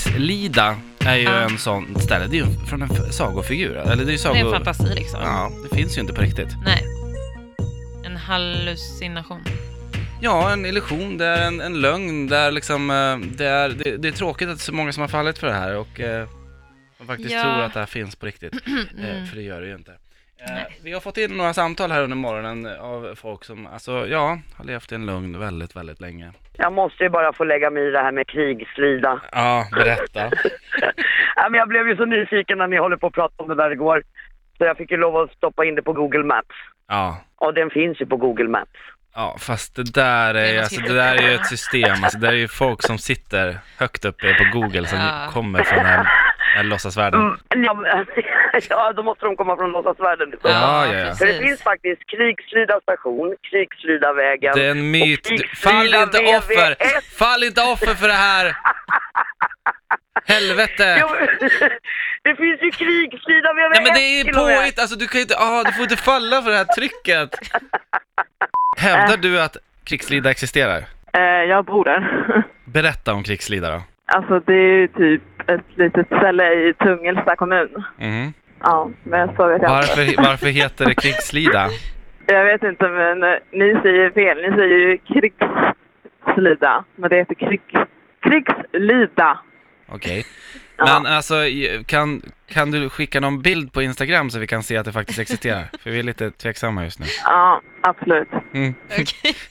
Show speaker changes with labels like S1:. S1: Krigslida är ju
S2: Ja.
S1: en sån ställe. Det är ju från en f- sagofigur. Eller det är ju
S2: Det är en
S1: sago...
S2: fantasi liksom.
S1: Ja, det finns ju inte på riktigt.
S2: Nej. En hallucination.
S1: Ja, en illusion, det är en, en lögn, det är liksom, eh, det är, det, det är tråkigt att så många som har fallit för det här och eh, man faktiskt
S2: Ja. Mm.
S1: tror att det här finns på riktigt, eh, för det gör det ju inte. Eh, vi har fått in några samtal här under morgonen eh, av folk som, alltså ja, har levt i en lögn väldigt, väldigt länge.
S3: Jag måste ju bara få lägga mig i det här med krigslida.
S1: Ja, berätta.
S3: Ja, men jag blev ju så nyfiken när ni håller på att prata om det där igår. Så jag fick ju lov att stoppa in det på Google Maps.
S1: Ja.
S3: Och den finns ju på Google Maps.
S1: Ja, fast det där
S2: Det är
S1: är,
S2: något
S1: alltså,
S2: helt
S1: det där är ju
S2: annat.
S1: ett system, alltså, det där är ju folk som sitter högt uppe på Google som
S2: Ja.
S1: kommer från den här, den här låtsasvärlden.
S3: Mm, Ja, men, ja, då måste de komma från låtsasvärlden.
S1: Ja, ja, ja.
S3: För det
S2: precis.
S3: finns faktiskt Krigslida station, Krigslidavägen.
S1: Det är en myt.
S3: Och Krigslida
S1: Fall inte offer!
S3: VVS.
S1: Fall inte offer för det här! Helvete!
S3: Jo, det finns ju Krigslida VVS
S1: Nej men det är ju
S3: till och med.
S1: påhitt, alltså du kan ju inte, ah, du får inte falla för det här trycket! Hävdar du att krigslida existerar?
S4: Eh, jag bor där.
S1: Berätta om krigslida då.
S4: Alltså det är ju typ ett litet ställe i Tungelsta kommun.
S1: Mhm.
S4: Ja, men så vet jag inte.
S1: Varför, varför heter det krigslida?
S4: Jag vet inte, men eh, ni säger fel. Ni säger ju krigslida, men det heter krig... krigslida.
S1: Okej. Men alltså, i- kan, kan du skicka någon bild på Instagram så vi kan se att det faktiskt existerar? För vi är lite tveksamma just nu.
S4: Ja, absolut.
S1: Mm.
S2: Okej.